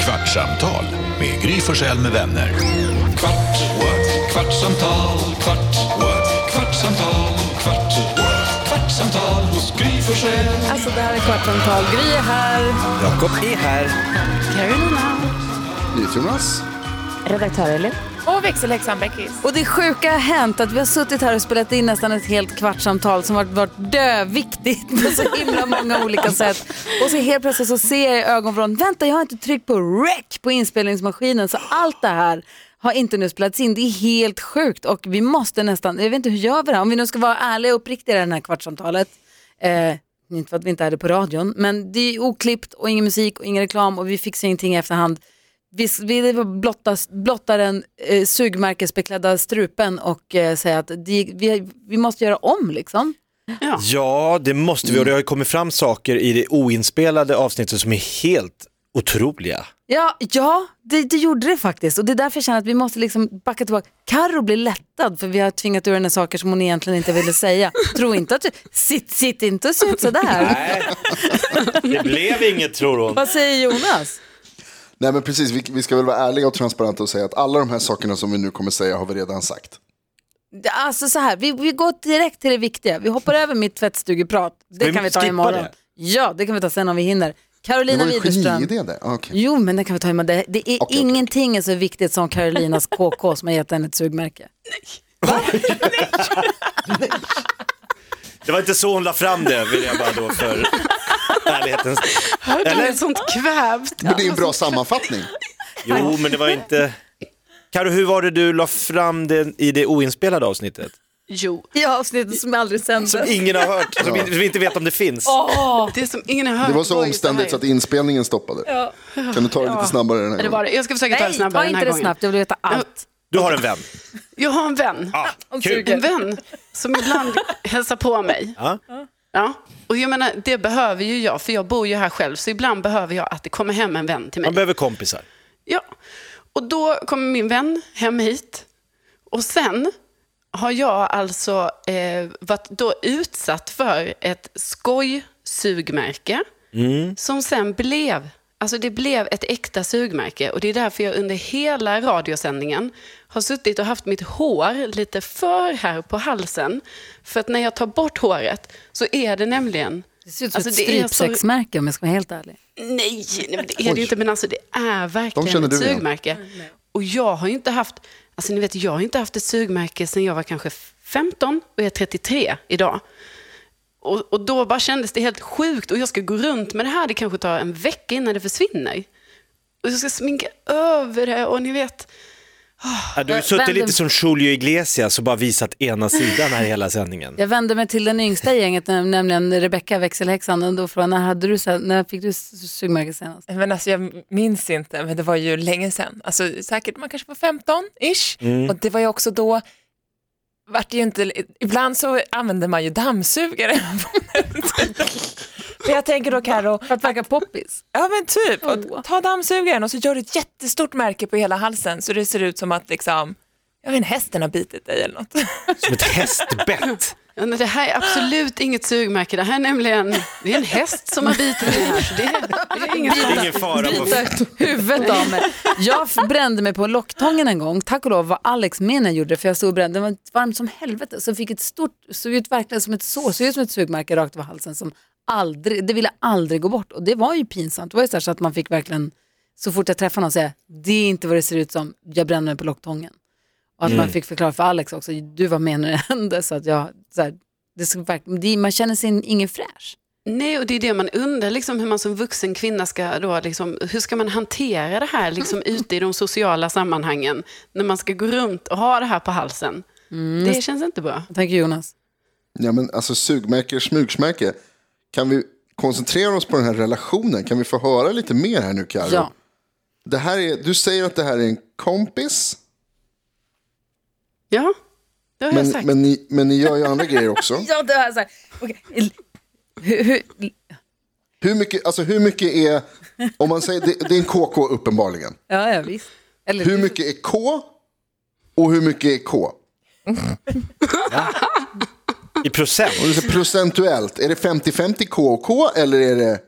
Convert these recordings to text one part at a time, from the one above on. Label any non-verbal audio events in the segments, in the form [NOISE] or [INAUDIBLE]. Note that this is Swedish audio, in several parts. Kvartsamtal med Gry Forssell med vänner. Kvart, what? kvartsamtal, kvart, what? kvartsamtal, kvart, what? kvartsamtal hos Gry Forssell. Alltså det här är Kvartsamtal. Gry är här. Jakob är här. Redaktör Elin. Och växelhäxan Beckis. Och det sjuka har hänt att vi har suttit här och spelat in nästan ett helt kvartsamtal som varit, varit döviktigt på så himla många olika sätt. Och så helt plötsligt så ser jag i ögonvrån, vänta jag har inte tryckt på rec på inspelningsmaskinen så allt det här har inte nu spelats in. Det är helt sjukt och vi måste nästan, jag vet inte hur gör vi det här? Om vi nu ska vara ärliga och uppriktiga i det här kvartsamtalet. Eh, inte för att vi inte är det på radion, men det är oklippt och ingen musik och ingen reklam och vi fixar ingenting i efterhand. Vi, vi blottas, blottar den eh, sugmärkesbeklädda strupen och eh, säger att det, vi, vi måste göra om liksom. Ja, det måste vi och det har ju kommit fram saker i det oinspelade avsnittet som är helt otroliga. Ja, ja det, det gjorde det faktiskt och det är därför jag känner att vi måste liksom backa tillbaka. Karo blir lättad för vi har tvingat ur henne saker som hon egentligen inte ville säga. Tro inte att du, sitt, sitt inte och se ut sådär. Nej, det blev inget tror hon. Vad säger Jonas? Nej men precis, vi, vi ska väl vara ärliga och transparenta och säga att alla de här sakerna som vi nu kommer säga har vi redan sagt. Alltså så här, vi, vi går direkt till det viktiga. Vi hoppar över mitt tvättstugeprat. Det vi kan vi ta skippa imorgon. det? Ja, det kan vi ta sen om vi hinner. Det Carolina var ju Widerström. geniidé det. Ah, okej. Jo, men den kan vi ta imorgon. Det, det är okej. ingenting är så viktigt som Carolinas [LAUGHS] KK som har gett henne ett sugmärke. Det var inte så hon la fram det, vill jag bara då för ärlighetens Eller? Sånt kvävt. Men det är en bra sammanfattning. Jo, men det var inte... Karo, hur var det du la fram det i det oinspelade avsnittet? Jo, I avsnittet som aldrig sändes. Som ingen har hört, som vi som vi inte vet om det finns. [LAUGHS] det som ingen har hört. Det var så ju omständigt så här. att inspelningen stoppade. Kan du ta det lite snabbare den här Det var gången? det. Jag ska försöka ta det Nej, snabbare ta den inte här det gången. snabbt. Jag vill veta allt. Du har en vän. Jag har en vän. Ah, En kul. vän som ibland [LAUGHS] hälsar på mig. Ja. Ja. Och jag menar, det behöver ju jag, för jag bor ju här själv. Så ibland behöver jag att det kommer hem en vän till mig. Man behöver kompisar. Ja. Och då kommer min vän hem hit. Och sen har jag alltså eh, varit då utsatt för ett skojsugmärke Mm. som sen blev Alltså det blev ett äkta sugmärke och det är därför jag under hela radiosändningen har suttit och haft mitt hår lite för här på halsen. För att när jag tar bort håret så är det nämligen... Det ser ut som Alltså, ett det är så- strypsexmärke om jag ska vara helt ärlig. Nej, nej men det är det Oj. ju inte. Men alltså det är De verkligen känner ett du igen. sugmärke. Och jag har ju inte haft, alltså ni vet, jag har inte haft ett sugmärke sedan jag var kanske 15 och jag är 33 idag. Och, och då bara kändes det helt sjukt. Och jag ska gå runt med det här, det kanske tar en vecka innan det försvinner. Och jag ska sminka över det och ni vet, Ja, Du har ju Vänder- suttit lite som Julio Iglesias och bara visat ena sidan här hela sändningen. Jag vände mig till den yngsta i gänget, näm- nämligen Rebecca växelhäxan. Och då frågade jag, när, hade du, så här- när fick du s- sugmärke senast? Men alltså jag minns inte, men det var ju länge sedan. Alltså säkert, man kanske var 15-ish. Och det var ju också då, vart det ju inte, ibland så använde man ju dammsugare. på den tiden. För jag tänker då [LAUGHS] Karo, För att verka poppis. ja men typ, Åh. och ta dammsugaren och så gör du ett jättestort märke på hela halsen så det ser ut som att liksom, jag vet inte, hästen har bitit dig eller något. Som ett hästbett. ja, nej, det här är absolut inget sugmärke. Det här är nämligen, det är en häst som har bitit mig här. Så det, är- det är inget Det är ingen fara på Bita huvudet av mig. Jag f- brände mig på locktången en gång. Tack och lov var Alex med när jag gjorde det, för jag stod och brände. Det var varmt som helvete. Så fick ett stort, såg ut verkligen som ett sår, såg ut som ett sugmärke rakt över halsen. Som aldrig, det ville aldrig gå bort. Och det var ju pinsamt. Det var ju så, här så att man fick verkligen, så fort jag träffade någon, säga det är inte vad det ser ut som, jag brände mig på locktången. Och att man Mm. fick förklara för Alex också, du [LAUGHS] var med när det hände. Så att jag, så här, det såg verkligen, det, man känner sig ingen fräsch. Nej, och det är det man undrar, liksom, hur man som vuxen kvinna ska då, liksom, hur ska man hantera det här liksom, ute i de sociala sammanhangen, när man ska gå runt och ha det här på halsen. Det känns inte bra. Vad tänker Jonas? Ja men alltså sugmärke, smugsmärke. Kan vi koncentrera oss på den här relationen? Kan vi få höra lite mer här nu Karo? Ja. Det här är, du säger att det här är en kompis. Ja, det har jag Men, sagt. men, ni, men ni gör ju andra grejer också. Ja, det var så här. okej. Hur, hur, Hur mycket, alltså hur mycket är, om man säger, det, det är en KK uppenbarligen. Ja, ja visst. Eller, Hur mycket är K och hur mycket är K? I procent. Och det är så procentuellt, är det 50-50 K och K eller är det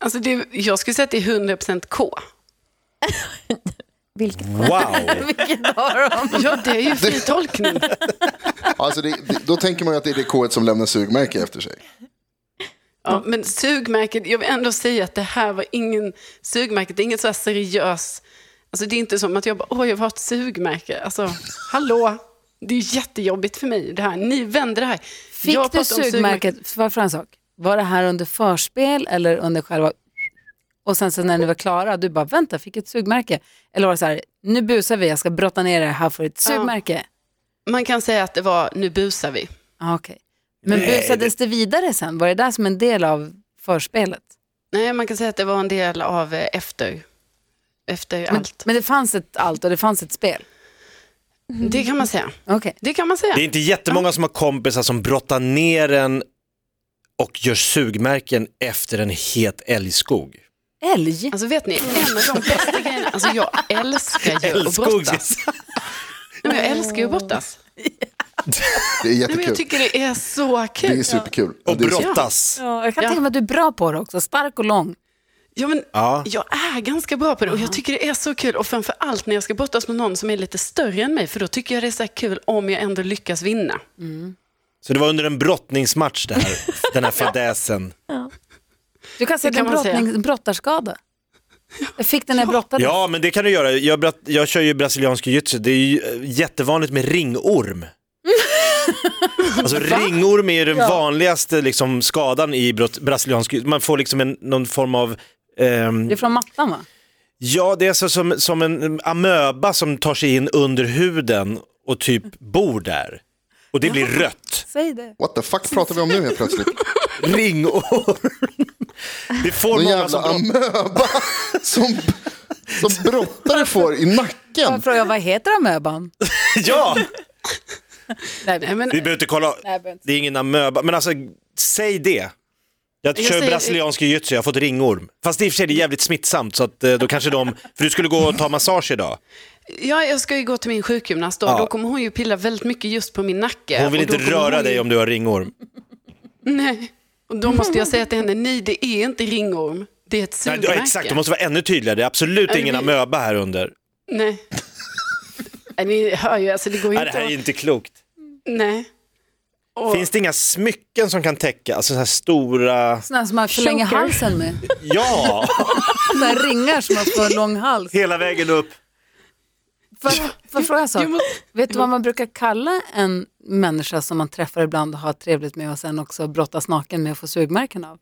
Alltså det, jag skulle säga att det är 100% K. Vilket? Wow! Vilket har de? Ja, det är [LAUGHS] ju fri tolkning. Alltså det, det, då tänker man ju att det är det K som lämnar sugmärke efter sig. Ja, men sugmärket, jag vill ändå säga att det här var ingen, sugmärket det är inget så här seriös, alltså det är inte som att jag bara, åh jag har ett sugmärke, [LAUGHS] alltså hallå, det är jättejobbigt för mig det här, ni vänder det här. Fick jag du pratar om sugmärket, för, för en sak, var det här under förspel eller under själva... Och sen så när ni var klara, du bara vänta, jag fick ett sugmärke. Eller var det så här, nu busar vi, jag ska brotta ner det här för ett sugmärke. Man kan säga att det var, nu busar vi. Ah, okej. Men busades det vidare sen? Var det där som en del av förspelet? Nej, man kan säga att det var en del av eh, efter, efter Men, allt. men det fanns ett allt och det fanns ett spel? Det kan man säga. Okej. Det kan man säga. Det är inte jättemånga som har kompisar som brottar ner en och gör sugmärken efter en het älgskog. Älg? Alltså vet ni, en av de bästa grejerna, alltså [LAUGHS] jag älskar ju att Älgskog, brottas. Nej, men jag älskar ju att brottas. Det är Nej, men jag jättekul. tycker det är så Det är kul. superkul. och det är så- brottas. Ja, jag kan Ja. tänka mig att du är bra på det också, stark och lång. Ja, men Ja. Jag är ganska bra på det och jag tycker det är så kul. Och framför allt när jag ska brottas med någon som är lite större än mig, för då tycker jag det är så här kul om jag ändå lyckas vinna. Så det var under en brottningsmatch det här, den här fadäsen. Du kan säga Det kan att man det är en brottning- brottarskada. Jag fick den när jag brottades. Ja, men det kan du göra. Jag, brat- jag kör ju brasiliansk jiu-jitsu. Det är ju eh, jättevanligt med [LAUGHS] ringorm. Alltså ringorm är ju den vanligaste liksom, skadan i brot- brasiliansk jiu-jitsu. Man får liksom en, någon form av ehm, Det är från mattan va? Ja, det är så som, som en amöba som tar sig in under huden och typ bor där. Och det blir rött. Säg det. What the fuck pratar vi om nu helt plötsligt? [LAUGHS] Ringorm. Det får Någon många jävla som... brott- amöba som, som brottare får i Får nacken. jag fråga, vad heter amöban? [LAUGHS] Ja, Nej, men, vi behöver inte kolla. Det är ingen amöba. Men alltså, säg det. Jag, Jag kör säger- brasiliansk jiu-jitsu, jag har fått ringorm. Fast det i och för sig det är jävligt smittsamt så att eh, då kanske de... För du skulle gå och ta massage idag. ja, jag ska ju gå till min sjukgymnast då, Ja. då kommer hon ju pilla väldigt mycket just på min nacke. Hon vill Och då inte kommer röra hon ju- dig om du har ringorm. Nej, och då måste jag säga till henne, nej det är inte ringorm, det är ett Nej, sugmärke. ja, exakt, de måste vara ännu tydligare. Det är absolut det ingen blir- amöba här under. Nej. Nej, ni hör ju, alltså det går ju Nej, inte det här är att- inte klokt. Nej. Och, Finns det inga smycken som kan täcka, alltså så här stora, Sådana som man förlänger Choker. halsen med. ja, Sådana här ringar som man får lång hals. [LAUGHS] hela vägen upp. Får får jag fråga en sak? Jag måste- Vet du vad man brukar kalla en människa som man träffar ibland och har trevligt med och sen också brottas naken med och får sugmärken av?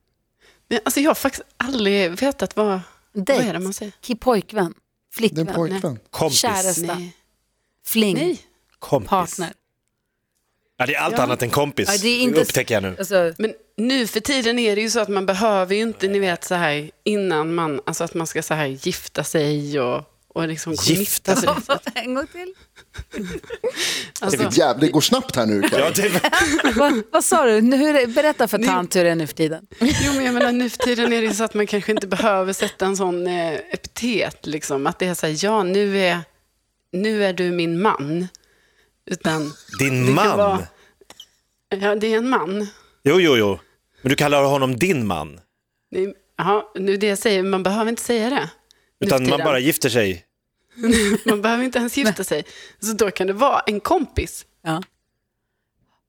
men, alltså jag har faktiskt aldrig vetat vad, vad Dejt. är det man säger. Ki- Pojkvän, Det är flickvän, en pojkvän. Kompis, käresta, Nej. fling, nej. kompis. partner. Ja, det är allt annat än kompis, Ja, det är inte- upptäcker jag nu. Alltså, Men nu för tiden är det ju så att man behöver ju inte, ni vet så här innan man, alltså att man ska så här gifta sig och, och liksom Gifta sig? en gång till. Alltså, Det, jävlar, det går snabbt här nu. Kaj. Ja, det, vad, vad sa du? Nu, hur är- berätta för Ni- tant hur det är nu för tiden. jo men jag menar nu för tiden är det ju så att man kanske inte behöver sätta en sån eh, epitet liksom, att det är så här, ja nu är, nu är du min man. Utan, [LAUGHS] din kan man. vara- ja det är en man. Jo, jo, jo. Men du kallar honom din man, Det- Ja, nu det jag säger, man behöver inte säga det. nu för utan man tiden. bara gifter sig. Man behöver inte ens gifta sig. Så då kan det vara en kompis. Ja.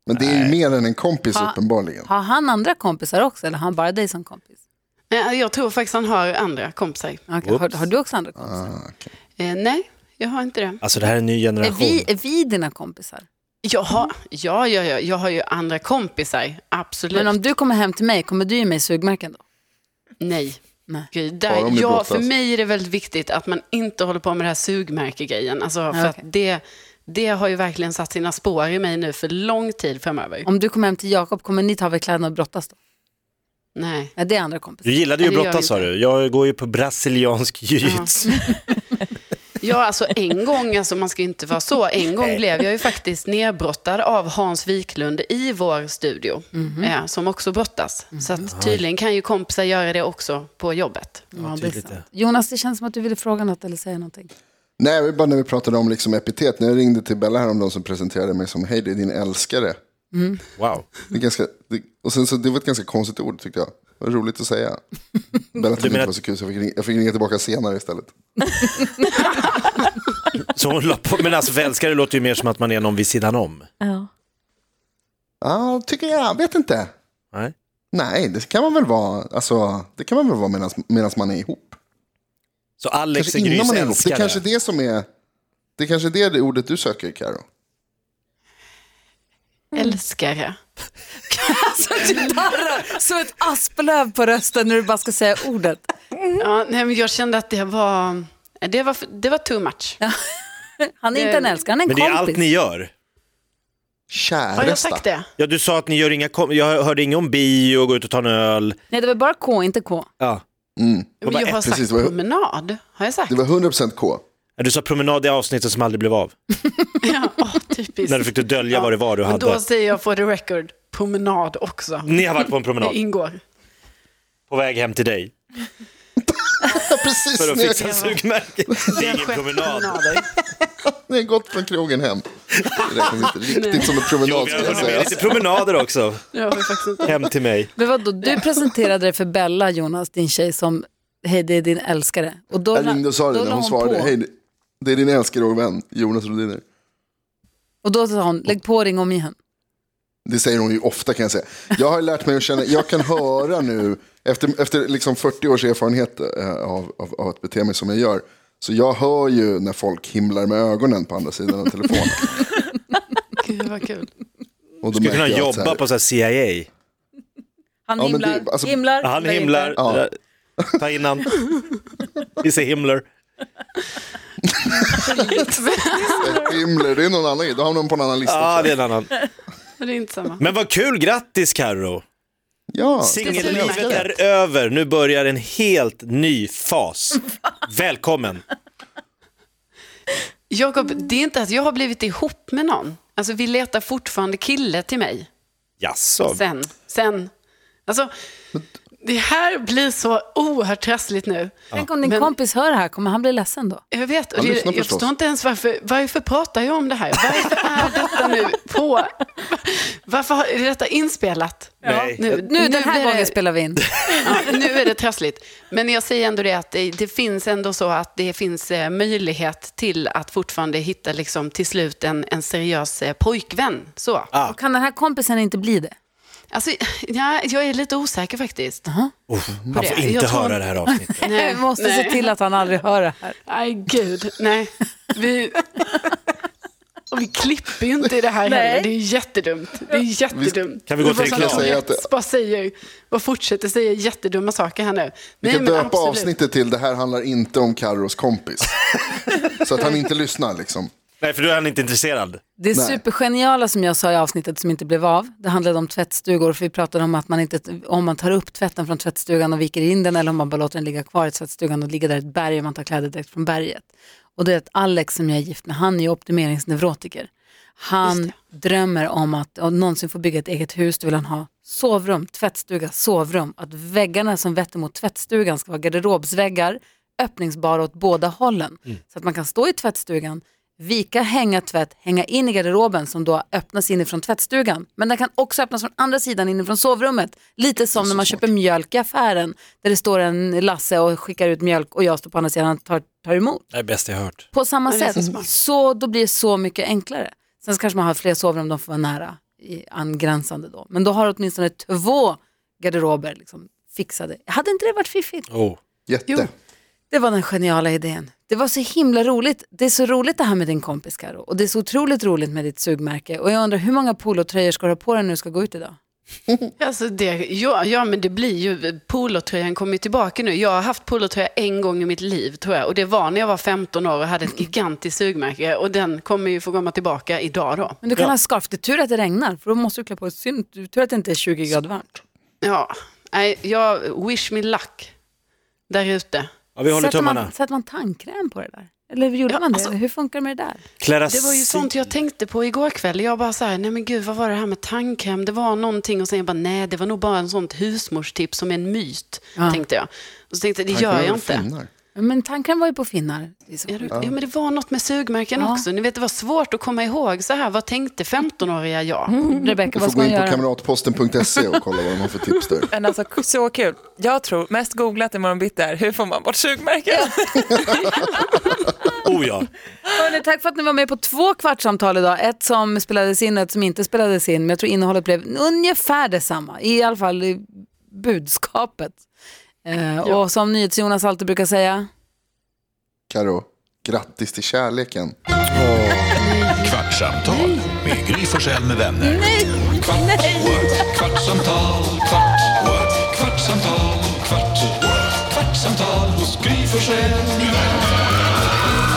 Men det är ju mer än en kompis uppenbarligen. Har han andra kompisar också eller har han bara dig som kompis? Nej, Eh, jag tror faktiskt han har andra kompisar. Okej, Har, har du också andra kompisar? Ah, Eh, nej, jag har inte det. Alltså det här är en ny Är generation. vi, är vi dina kompisar? Jag har, Mm. ja, ja, ja, jag har ju andra kompisar. Absolut. Men om du kommer hem till mig, kommer du ge mig sugmärken då? Nej. Nej. Gud, Bara om där, det ja, brottas. för mig är det väldigt viktigt att man inte håller på med den här sugmärkegrejen. Alltså, för Ja, att okej. det, det har ju verkligen satt sina spår i mig nu för lång tid framöver. Om du kommer hem till Jakob, kommer ni ta av er kläderna och brottas då? Nej. Nej, det är andra kompisar. Du gillade ju Nej, det gör brottas sa vi du. Jag går ju på brasiliansk jiu-jitsu. Ja, alltså en gång, alltså man ska ju inte vara så, en gång blev jag ju faktiskt nedbrottad av Hans Wiklund i vår studio, Mhm. eh, som också brottas. Mm. Så att tydligen kan ju kompisar göra det också på jobbet. Ja, det är tydligt sant. Jonas, det känns som att du ville fråga något eller säga någonting. Nej, det var bara när vi pratade om liksom epitet. När jag ringde till Bella häromdagen som presenterade mig som hej, det är din älskare. Wow. Det är ganska, det, och sen så, det var ett ganska konstigt ord tyckte jag. Vad roligt att [LAUGHS] säga. Bella tyckte menar- inte det var så kul så jag fick, ringa, jag fick ringa tillbaka senare istället. Så hon la på, men alltså förälskare låter ju mer som att man är någon vid sidan om. Ja. Ja, tycker jag. Vet inte. Nej. Nej, det kan man väl vara. Alltså, det kan man väl vara medan man är ihop. Så Alex Kanske är innan Grys man är ihop. Det älskare. är kanske det som är... Det är kanske det ordet du söker, Karo. Mm. Älskare. Alltså [LAUGHS] du darrar som ett asplöv på rösten när du bara ska säga ordet. Mm. Ja, nej, men jag kände att det var, det var, det var too much. Han är inte en älskare, han är en Men det är allt kompis. ni gör. Har jag Käresta. sagt det? Ja, du sa att ni gör inga kom- Jag hörde inget om bio, gå ut och ta en öl. Nej, det var bara K, inte K. Ja. Men bara jag har ett, sagt precis, det var- promenad. Har jag sagt? Det var 100% K. Du sa promenad i avsnittet som aldrig blev av. [LAUGHS] Ja, åh, typiskt. När du fick dölja vad det var du Men hade. Då säger jag for the record, promenad också. Ni har varit på en Det promenad ingår. på väg hem till dig Ja, precis. för att Ni, fixa [LAUGHS] sugmärken. Det är ingen Skett promenad. promenader. ni har gått från krogen hem. Det räknas inte riktigt som en Jo, promenad, vi ska har jag hunnit med säga. lite promenader också Jag har faktiskt inte. hem till mig. Men vadå, du [LAUGHS] presenterade dig för Bella, Jonas, din tjej, som hej, det är din älskare. Och då, Jag ringde och sa då det när la hon svarade. på. Hej, det är din älskade och vän, Jonas Rhodiner. Och då sa hon, lägg på ring om igen. Det säger hon ju ofta kan jag säga. Jag har lärt mig att känna, jag kan höra nu, efter, efter liksom 40 års erfarenhet eh, av, av, av att bete mig som jag gör, så jag hör ju när folk himlar med ögonen på andra sidan av telefonen. Gud vad kul. Och då Skulle märker kunna jag att så här- jobba på så här CIA. Han Ja, men himlar, det- alltså- himlar, Han nej, himlar. inte. Ja. Ta innan. Vi ser himlar. Himmler, det är någon annan grej. Då hamnar man på en annan lista. Ja, det tror är jag. en annan. Det är inte samma. Men vad kul, grattis Carro. ja. Singellivet är över, nu börjar en helt ny [LAUGHS] fas. Välkommen. Jakob, det är inte att jag har blivit ihop med någon. Alltså vi letar fortfarande kille till mig. Jaså, Sen, sen. Alltså, det här blir så oerhört trassligt nu. Tänk om din Men- kompis hör det här, kommer han bli ledsen då? Jag vet, och Han det, lyssnar jag förstås. förstår inte ens varför, varför pratar jag om det här? Varför är detta nu på... Varför har- är detta inspelat? Nej. Nu, den här är det- gången spelar vi in. [LAUGHS] Ja, nu är det trassligt. Men jag säger ändå det att det, det finns ändå så att det finns eh, möjlighet till att fortfarande hitta liksom, till slut en, en seriös eh, pojkvän. Så. Och kan den här kompisen inte bli det? Alltså, [LAUGHS] ja, jag är lite osäker faktiskt. han får inte Jag tror- höra det här [LAUGHS] avsnittet. Nej, [LAUGHS] vi måste se nej. till att han aldrig hör det här. Nej, gud. Nej. Vi... [LAUGHS] Och vi klipper ju inte i det här Nej. heller. Det är ju jättedumt. Det är jättedumt. Kan vi gå Det var till som att reklam? jag Säga att- Bara säger, bara fortsätter säga jättedumma saker här nu. Vi kan men döpa absolut. avsnittet till Det här handlar inte om Carros kompis. så att han inte lyssnar liksom. Nej, för då är han inte intresserad. Det Nej. supergeniala som jag sa i avsnittet som inte blev av, det handlade om tvättstugor, för vi pratade om att man inte, om man tar upp tvätten från tvättstugan och viker in den eller om man bara låter den ligga kvar i tvättstugan och ligga där i ett berg och man tar kläder direkt från berget. Och det är att Alex som jag är gift med, han är ju optimeringsneurotiker. Han drömmer om att om någonsin få bygga ett eget hus, då vill han ha sovrum, tvättstuga, sovrum. Att väggarna som vetter mot tvättstugan ska vara garderobsväggar, öppningsbara åt båda hållen. Så att man kan stå i tvättstugan, vika, hänga tvätt, hänga in i garderoben som då öppnas inifrån tvättstugan. Men den kan också öppnas från andra sidan inifrån sovrummet. Lite som när man köper mjölk i affären där det står en Lasse och skickar ut mjölk och jag står på andra sidan och tar, tar emot. Det är bäst jag har hört. På samma Ja, det är sätt, så smart. så då blir det så mycket enklare. Sen så kanske man har fler sovrum, de får vara nära i angränsande då. Men då har du åtminstone två garderober liksom fixade. Hade inte det varit fiffigt? Oh. Jätte. Det var den geniala idén. Det var så himla roligt. Det är så roligt det här med din kompis Karo. Och det är så otroligt roligt med ditt sugmärke. Och jag undrar hur många polotröjor ska du ha på dig när du ska gå ut idag? Alltså det, ja, ja, men det blir ju, polotröjan kommer ju tillbaka nu. Jag har haft polotröja en gång i mitt liv tror jag. Och det var när jag var 15 år och hade ett gigantiskt sugmärke. Och den kommer ju få komma tillbaka idag då. Men du kan ha scarf. Det är tur att det regnar, för då måste du klä på ett synd. Du tur att det inte är 20 grader varmt. Ja, nej, jag wish me luck där ute. Ja, vi håller Sätter tummarna. alltså- man, sätter man tandkräm på det där? Eller gjorde man det? Hur funkar det med det där? Clara Det var ju sånt jag tänkte på igår kväll. Jag bara så här, nej men gud, vad var det här med tandkräm? Det var någonting och sen jag bara, nej, det var nog bara en sånt husmorstips som en myt, tänkte jag. Och så tänkte jag, det Han gör kommer jag att inte. finna. Men tanken var ju på finnar. liksom. i så Ja, fall. du- ja, men det var något med sugmärken Ja. också. Ni vet, det var svårt att komma ihåg så här. Vad tänkte 15-åriga jag? Rebecka, Du vad ska får gå man in på göra? kamratposten.se och kolla vad de har för tips där. Men alltså k- så kul. Jag tror mest googlat imorgon bitti är hur får man bort [LAUGHS] sugmärken? Oh ja. Hörrni, tack för att ni var med på två kvartssamtal idag. Ett som spelades in och ett som inte spelades in. Men jag tror innehållet blev ungefär detsamma. I alla fall i budskapet. Eh, Och som NyhetsJonas alltid brukar säga. Karo, grattis till kärleken. Kvartsamtal med Gry Forssell med vänner. kvart, what? kvartsamtal, kvart, what? kvartsamtal, kvart, what? kvartsamtal hos Gry Forssell med vänner.